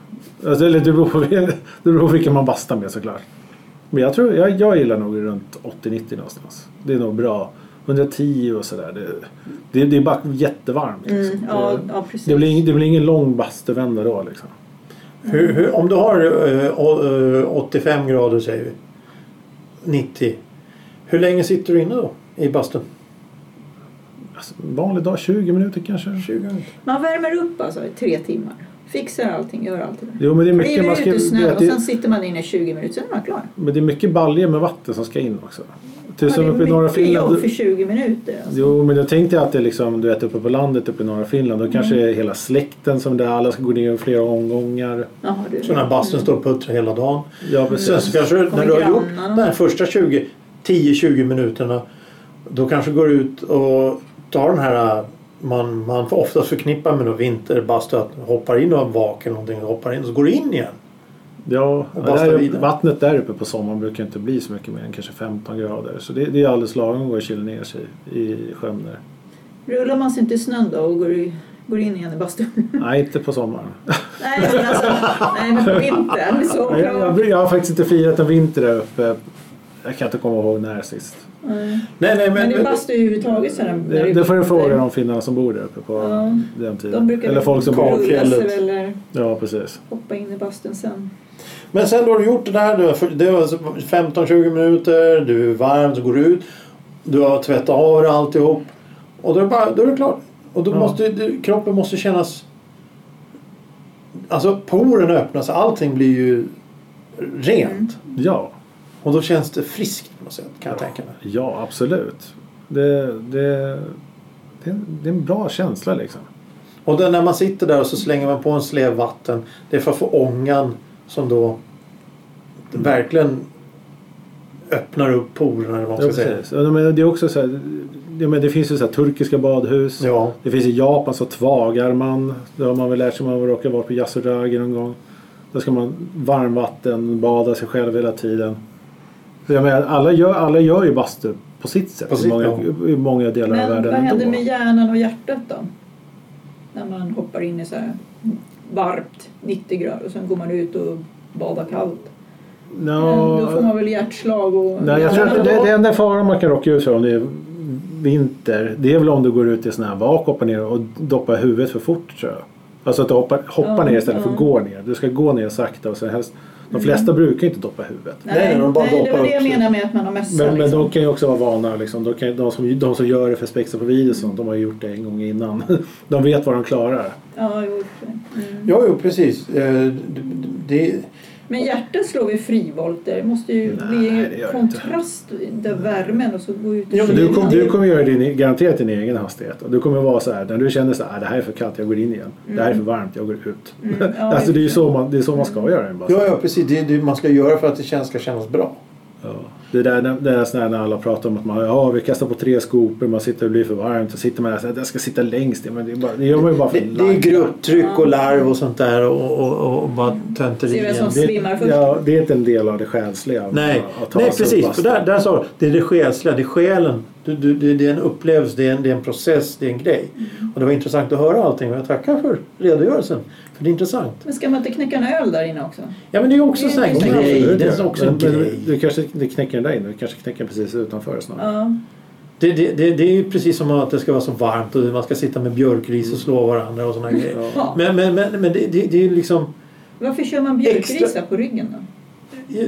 Speaker 2: Alltså, eller det beror, på, *laughs* det beror på vilken man bastar med såklart. Men jag tror, jag, jag gillar nog runt 80-90 någonstans. Det är nog bra. 110 och sådär. Det, det, det är bara jättevarmt. Liksom.
Speaker 3: Mm, ja,
Speaker 2: det,
Speaker 3: ja, precis.
Speaker 2: det, blir, ing- det blir ingen lång bastuvända då liksom.
Speaker 1: Hur, hur, om du har eh, å- eh, 85 grader säger vi. 90. Hur länge sitter du inne då? I bastun?
Speaker 2: Alltså, vanlig dag, 20 minuter kanske.
Speaker 1: 20 minuter.
Speaker 3: Man värmer upp alltså i tre timmar. Fixar allting, gör allt det där.
Speaker 2: Jo men det är mycket,
Speaker 3: River
Speaker 2: man
Speaker 3: ut
Speaker 2: ska,
Speaker 3: i snö
Speaker 2: det,
Speaker 3: och sen
Speaker 2: det,
Speaker 3: sitter man inne i 20 minuter, sen är man klar.
Speaker 2: men det är mycket baljer med vatten som ska in också. det är som uppe i norra
Speaker 3: mycket jobb
Speaker 2: Finland.
Speaker 3: för 20 minuter. Alltså.
Speaker 2: Jo, men jag tänkte att det är liksom, du vet uppe på landet uppe i norra Finland. Då kanske det är hela släkten som där. Alla ska gå ner i flera omgångar. Eh,
Speaker 3: Jaha, du.
Speaker 1: Så den här bastun står och puttrar hela dagen.
Speaker 2: Ja,
Speaker 1: Sen
Speaker 2: precis.
Speaker 1: så kanske du- när du har
Speaker 3: Mm. Kommer
Speaker 1: gjort
Speaker 3: grannarna.
Speaker 1: de här första 20, 10-20 minuterna då kanske du går ut och tar den här äh, man, man får oftast förknippa med någon vinterbastu att hoppar in och har vak eller någonting och hoppar in och så går du in igen.
Speaker 2: Ja,
Speaker 1: Och
Speaker 2: där,
Speaker 1: basta
Speaker 2: är-
Speaker 1: vidare.
Speaker 2: vattnet där uppe på sommaren brukar inte bli så mycket mer än kanske 15 grader. Så det, det är alldeles lagom att gå och kyla ner sig i sjön där.
Speaker 3: Rullar man sig inte i snön då och går, i- går in igen i bastun?
Speaker 2: Nej, inte på sommaren.
Speaker 3: nej, men alltså, nej, men på vintern. Så
Speaker 2: Jag, jag, jag har faktiskt inte firat en vinter där uppe. Jag kan inte komma ihåg när sist.
Speaker 3: Nej.
Speaker 1: Nej, nej, men,
Speaker 3: Men i bastu överhuvudtaget så här, när
Speaker 2: Det,
Speaker 3: är
Speaker 2: det får du
Speaker 3: vinter.
Speaker 2: fråga de finnarna som bor där uppe på
Speaker 3: Ja,
Speaker 2: den
Speaker 3: De
Speaker 2: tiden.
Speaker 3: brukar
Speaker 2: Eller folk som
Speaker 1: Ja,
Speaker 2: bor...
Speaker 3: rulla
Speaker 1: fjället.
Speaker 3: sig eller
Speaker 2: Ja, precis.
Speaker 3: hoppa in i bastun sen.
Speaker 1: men sen då har du gjort det där, du har för- det var alltså 15-20 minuter, du är varm, så går du ut, du har tvättat av dig alltihop och då är, det bara, då är det klart. Och då
Speaker 2: Ja.
Speaker 1: måste du, kroppen måste kännas... Alltså poren öppnas, allting blir ju rent.
Speaker 2: Ja,
Speaker 1: Och då känns det friskt på något sätt kan jag tänka mig.
Speaker 2: Mm. ja absolut. Det, det, det, det är en bra känsla liksom.
Speaker 1: Och då när man sitter där och så slänger man på en slev vatten. Det är för att få ångan som då verkligen öppnar upp porerna eller vad
Speaker 2: Ja,
Speaker 1: man ska säga.
Speaker 2: precis. Ja, men det, är också så här, ja, men det finns ju så här turkiska badhus.
Speaker 1: Ja.
Speaker 2: Det finns i Japan så tvagar man. Det har man väl lärt sig om man råkar vara på Yasuragi någon gång. Där ska man varmvatten, bada sig själv hela tiden. Så jag menar, alla, gör, alla gör ju bastu på sitt sätt
Speaker 1: På
Speaker 2: i,
Speaker 1: sitt,
Speaker 2: många,
Speaker 1: ja.
Speaker 2: i många delar av
Speaker 3: Men
Speaker 2: världen
Speaker 3: vad händer
Speaker 2: ändå.
Speaker 3: med hjärnan och hjärtat då? När man hoppar in i så här varmt, 90 grader och sen går man ut och badar kallt. Men då får
Speaker 2: Nå,
Speaker 3: man väl hjärtslag och...
Speaker 2: nej, jag tror att det, det enda faran man kan råka ut för om det är vinter det är väl om du går ut i sån här vak, hoppar ner och doppar huvudet för fort tror jag. Alltså att du hoppar, hoppar
Speaker 3: Ja,
Speaker 2: ner istället för att
Speaker 3: ja. Mm.
Speaker 2: gå ner. Du ska gå ner sakta och sen helst. De flesta brukar ju inte doppa huvudet.
Speaker 1: Nej,
Speaker 3: Nej,
Speaker 1: nej, de bara
Speaker 3: nej, det
Speaker 1: doppar
Speaker 3: var det jag
Speaker 1: upp sig.
Speaker 3: menar med att man har mössa.
Speaker 2: Men, men
Speaker 3: liksom.
Speaker 2: de kan ju också vara vana. Liksom. De, kan, de, som, de som gör det för spexa på video och sånt, de har ju gjort det en gång innan. *laughs* De vet vad de klarar.
Speaker 3: Ja, jo, i och för sig. mm.
Speaker 1: Jo, jo precis. Eh, d- d- Det,
Speaker 3: Men hjärtat slår vid frivolter. Det måste ju
Speaker 2: Nej,
Speaker 3: bli
Speaker 2: det gör
Speaker 3: en
Speaker 2: det
Speaker 3: kontrast i den värmen och så gå ut i
Speaker 1: Ja, men
Speaker 2: Du,
Speaker 3: kylan.
Speaker 2: kom, du kommer göra din, e- garanterat din egen hastighet. Och du kommer vara så här, när du känner så här, "Ah, det här är för kallt, jag går in igen. Det här är för varmt, jag går ut. *laughs*
Speaker 3: Mm, ja,
Speaker 2: alltså, det är ju
Speaker 3: just
Speaker 2: så man, det är så man ska göra en bastu.
Speaker 1: ja, ja, precis. Det, är det man ska göra för att det känns, ska kännas bra.
Speaker 2: Ja. Det där det är sån här när alla pratar om att man ja, vi kastar på tre skopor, man sitter och blir för varmt. Så sitter man där så här, jag ska sitta längst. ner." Men det, är bara, det gör man ju bara för
Speaker 1: Det, det är
Speaker 2: lajv.
Speaker 1: grupptryck och larv och sånt där och, och, och, och bara
Speaker 3: Se vem
Speaker 1: tönterier.
Speaker 3: som
Speaker 2: Det-
Speaker 3: svimmar först.
Speaker 2: Ja, det är inte en del av det själsliga.
Speaker 1: Nej,
Speaker 2: att- att ta
Speaker 1: nej
Speaker 2: sig upp
Speaker 1: precis. För
Speaker 2: bastu.
Speaker 1: där, där sa du, det är det själsliga, det är själen. Du, du, det, det är en upplevelse, det är en, det är en process, det är en grej.
Speaker 3: Mm.
Speaker 1: Och det var intressant att höra allting och jag tackar för redogörelsen. För det är intressant.
Speaker 3: Men ska man inte knäcka en öl där inne också?
Speaker 1: Ja men det är också
Speaker 3: Det är
Speaker 1: en sån här grej.
Speaker 2: Absolut,
Speaker 3: intressant.
Speaker 1: Det
Speaker 2: ja.
Speaker 1: är också en
Speaker 2: Men- men
Speaker 1: grej.
Speaker 2: Du kanske inte knäcker den där inne, du kanske knäcker den precis utanför snarare.
Speaker 3: Ja.
Speaker 1: Det, det, det, det är ju precis som att det ska vara så varmt och man ska sitta med björkris och slå varandra och såna här grejer.
Speaker 3: Ja.
Speaker 1: Men, men, men, men det, det, det är ju liksom...
Speaker 3: Varför kör man björkrisa
Speaker 1: Extra-
Speaker 3: på ryggen då?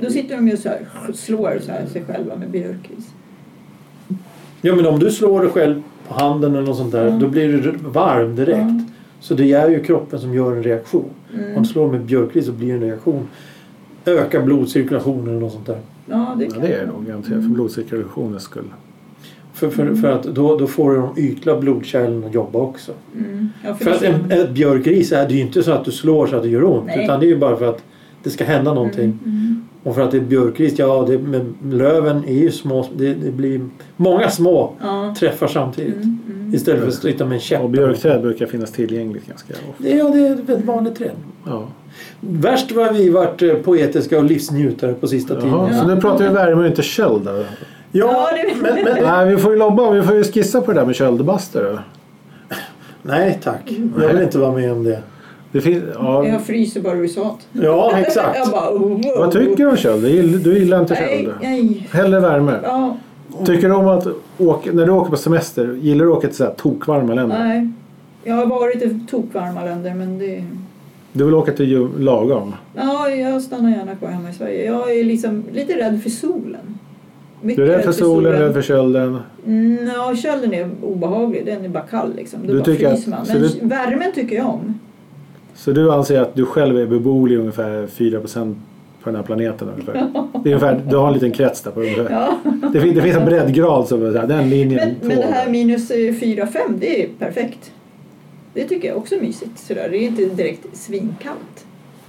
Speaker 3: Då sitter de ju så här slår så här sig själva med björkris.
Speaker 1: Ja men om du slår dig själv på handen eller något sånt där
Speaker 3: Mm.
Speaker 1: då blir du varm direkt.
Speaker 3: Mm.
Speaker 1: Så det är ju kroppen som gör en reaktion.
Speaker 3: Mm.
Speaker 1: Om du slår med björkris så blir det en reaktion. Öka blodcirkulationen eller något sånt där.
Speaker 3: Ja, det
Speaker 2: Ja,
Speaker 3: kan
Speaker 2: det är det nog garanterat för blodcirkulationens skull.
Speaker 1: För, för, för att då, då får de ytliga blodkärlen att jobba också.
Speaker 3: Mm. Ja, för
Speaker 1: För att
Speaker 3: det
Speaker 1: en, ett björkris är det ju inte så att du slår så att det gör ont.
Speaker 3: Nej.
Speaker 1: Utan det är ju bara för att det ska hända någonting.
Speaker 3: Mm.
Speaker 1: Och för att det är björkris, ja det, men löven är ju små. Det, det blir många små
Speaker 3: Ja.
Speaker 1: träffar samtidigt.
Speaker 3: Mm. Mm.
Speaker 1: Istället för att sitta med en käpp.
Speaker 2: Och björkträd brukar finnas tillgängligt ganska ofta.
Speaker 1: Det- Ja, det är ett väldigt vanligt träd.
Speaker 2: Ja.
Speaker 1: Värst vad vi varit eh, poetiska och livsnjutare på sista
Speaker 2: Jaha,
Speaker 1: tiden.
Speaker 2: så nu pratar vi värme och inte köld. då.
Speaker 1: Ja,
Speaker 3: Ja, det-
Speaker 1: men, men,
Speaker 2: Nej, vi får ju lobba, vi får ju skissa på det där med köldbastu. då.
Speaker 1: nej tack. Jag vill inte vara med om det.
Speaker 2: Det finns, ja.
Speaker 3: *laughs* Jag fryser bara risat.
Speaker 1: Ja, exakt.
Speaker 3: Jag bara, oh, wow.
Speaker 2: Vad tycker du om köld? Du gill- Du gillar inte
Speaker 3: Nej,
Speaker 2: köld?
Speaker 3: nej.
Speaker 2: Hellre värme.
Speaker 3: Ja,
Speaker 2: Tycker du om att åka, när du åker på semester, gillar du att åka till så här tokvarma länder?
Speaker 3: nej. Jag har varit i tokvarma länder men det...
Speaker 2: Du vill åka till ju- lagom?
Speaker 3: Ja, jag stannar gärna kvar hemma i Sverige. Jag är liksom lite rädd för solen. Mycket
Speaker 2: Du är rädd för solen, rädd för kölden.
Speaker 3: Mm, ja, kölden är obehaglig. Den är bara kall liksom. Då
Speaker 2: Du
Speaker 3: bara
Speaker 2: tycker
Speaker 3: fryser
Speaker 2: att-
Speaker 3: man.
Speaker 2: så
Speaker 3: Men
Speaker 2: du-
Speaker 3: värmen tycker jag om.
Speaker 2: Så du anser att du själv är beboelig ungefär 4% på den här planeten? Ungefär. Det är ungefär, du har en liten krets där. På ungefär.
Speaker 3: Ja.
Speaker 2: det, finns, det finns en breddgrad som är så här, den linjen
Speaker 3: *laughs* Men, men det här minus 4-5, det är perfekt. Det tycker jag också är mysigt. Sådär. Det är inte direkt svinkallt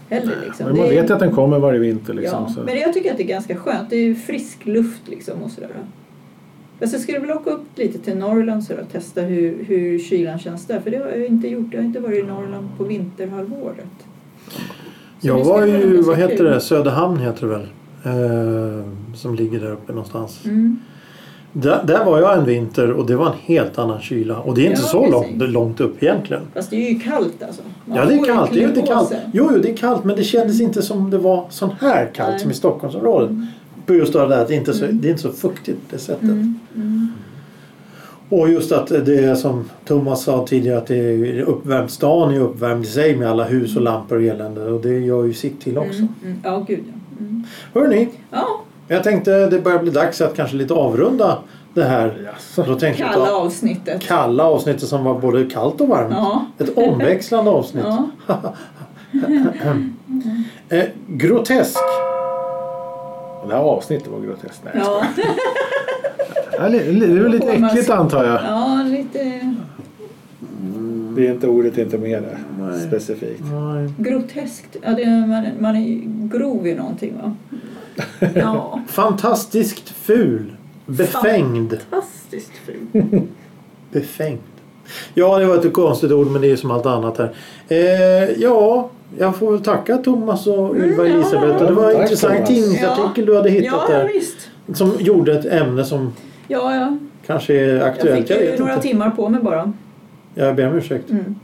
Speaker 3: heller. Liksom.
Speaker 2: men man
Speaker 3: Det är-
Speaker 2: vet att den kommer varje vinter. Liksom,
Speaker 3: ja,
Speaker 2: så.
Speaker 3: Men jag tycker att det är ganska skönt. Det är ju frisk luft liksom och sådär. Fast jag skulle vilja åka upp lite till Norrland sådär, och testa hur, hur kylan känns där. För det har jag ju inte gjort. Jag har inte varit i Norrland på vinterhalvåret. Så
Speaker 1: Jag
Speaker 3: vi ska
Speaker 1: var
Speaker 3: kolla om det
Speaker 1: ju,
Speaker 3: är
Speaker 1: vad
Speaker 3: så
Speaker 1: heter
Speaker 3: kul.
Speaker 1: det, Söderhamn heter det väl? Eh, som ligger där uppe någonstans.
Speaker 3: Mm.
Speaker 1: Där, där var jag en vinter och det var en helt annan kyla. Och det är inte
Speaker 3: Ja,
Speaker 1: så
Speaker 3: precis.
Speaker 1: långt, långt upp egentligen.
Speaker 3: Fast det är ju kallt alltså. Man
Speaker 1: Ja, det är
Speaker 3: får ju
Speaker 1: kallt. Det är ju
Speaker 3: klä
Speaker 1: inte
Speaker 3: på
Speaker 1: kallt.
Speaker 3: sig.
Speaker 1: Jo, jo, det är kallt, men det kändes inte som det var sån här kallt
Speaker 3: Nej.
Speaker 1: som i Stockholmsområdet. På just det här att det inte är så, det är inte så fuktigt på det sättet.
Speaker 3: Mm. Mm.
Speaker 1: Och just att det är som Thomas sa tidigare att det är uppvärmt. Stan är uppvärmd i sig med alla hus och lampor och elände och det gör ju sitt till också.
Speaker 3: Mm. Mm. Ja, gud ja. Mm.
Speaker 1: Hörrni,
Speaker 3: Ja,
Speaker 1: jag tänkte det börjar bli dags att kanske lite avrunda det här.
Speaker 2: Jaså.
Speaker 1: Då tänkte jag
Speaker 3: kalla
Speaker 1: ta
Speaker 3: avsnittet.
Speaker 1: kalla avsnittet som var både kallt och varmt.
Speaker 3: Ja.
Speaker 1: Ett omväxlande avsnitt.
Speaker 3: *laughs* Ja.
Speaker 1: Eh, grotesk.
Speaker 2: Det här avsnittet var groteskt. Nej,
Speaker 3: Ja.
Speaker 2: ja. li- li- Det var lite
Speaker 3: Thomas.
Speaker 2: äckligt antar jag.
Speaker 3: ja, lite
Speaker 2: Det är inte ordet är inte med där
Speaker 1: Nej.
Speaker 2: specifikt.
Speaker 1: Nej.
Speaker 3: groteskt. Ja, det är, man, man är ju grov i någonting
Speaker 1: *laughs*
Speaker 3: va? Ja.
Speaker 1: Fantastiskt ful. Befängd.
Speaker 3: Fantastiskt ful.
Speaker 1: *laughs* Befängd. Ja, det var ett konstigt ord men det är som allt annat här. Eh, ja, jag får väl tacka Thomas och Ylva
Speaker 3: Mm, ja.
Speaker 1: Elisabeth. Och det var en
Speaker 2: Tack,
Speaker 1: intressant
Speaker 2: Thomas.
Speaker 1: tidningsartikel du hade hittat
Speaker 3: ja, Ja,
Speaker 1: där.
Speaker 3: visst.
Speaker 1: Som gjorde ett ämne som
Speaker 3: Ja, ja.
Speaker 1: kanske är
Speaker 3: Jag fick
Speaker 1: aktuellt. Jag,
Speaker 3: ju
Speaker 1: vet
Speaker 3: några
Speaker 1: inte.
Speaker 3: timmar på mig bara.
Speaker 1: Jag ber om ursäkt.
Speaker 3: Mm.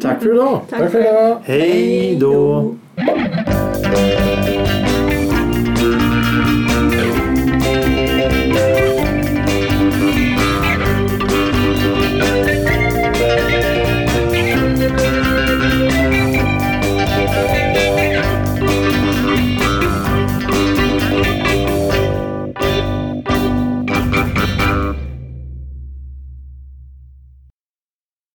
Speaker 3: *laughs*
Speaker 1: Tack för idag.
Speaker 2: Tack för idag!
Speaker 1: Hej då.
Speaker 3: Hej då.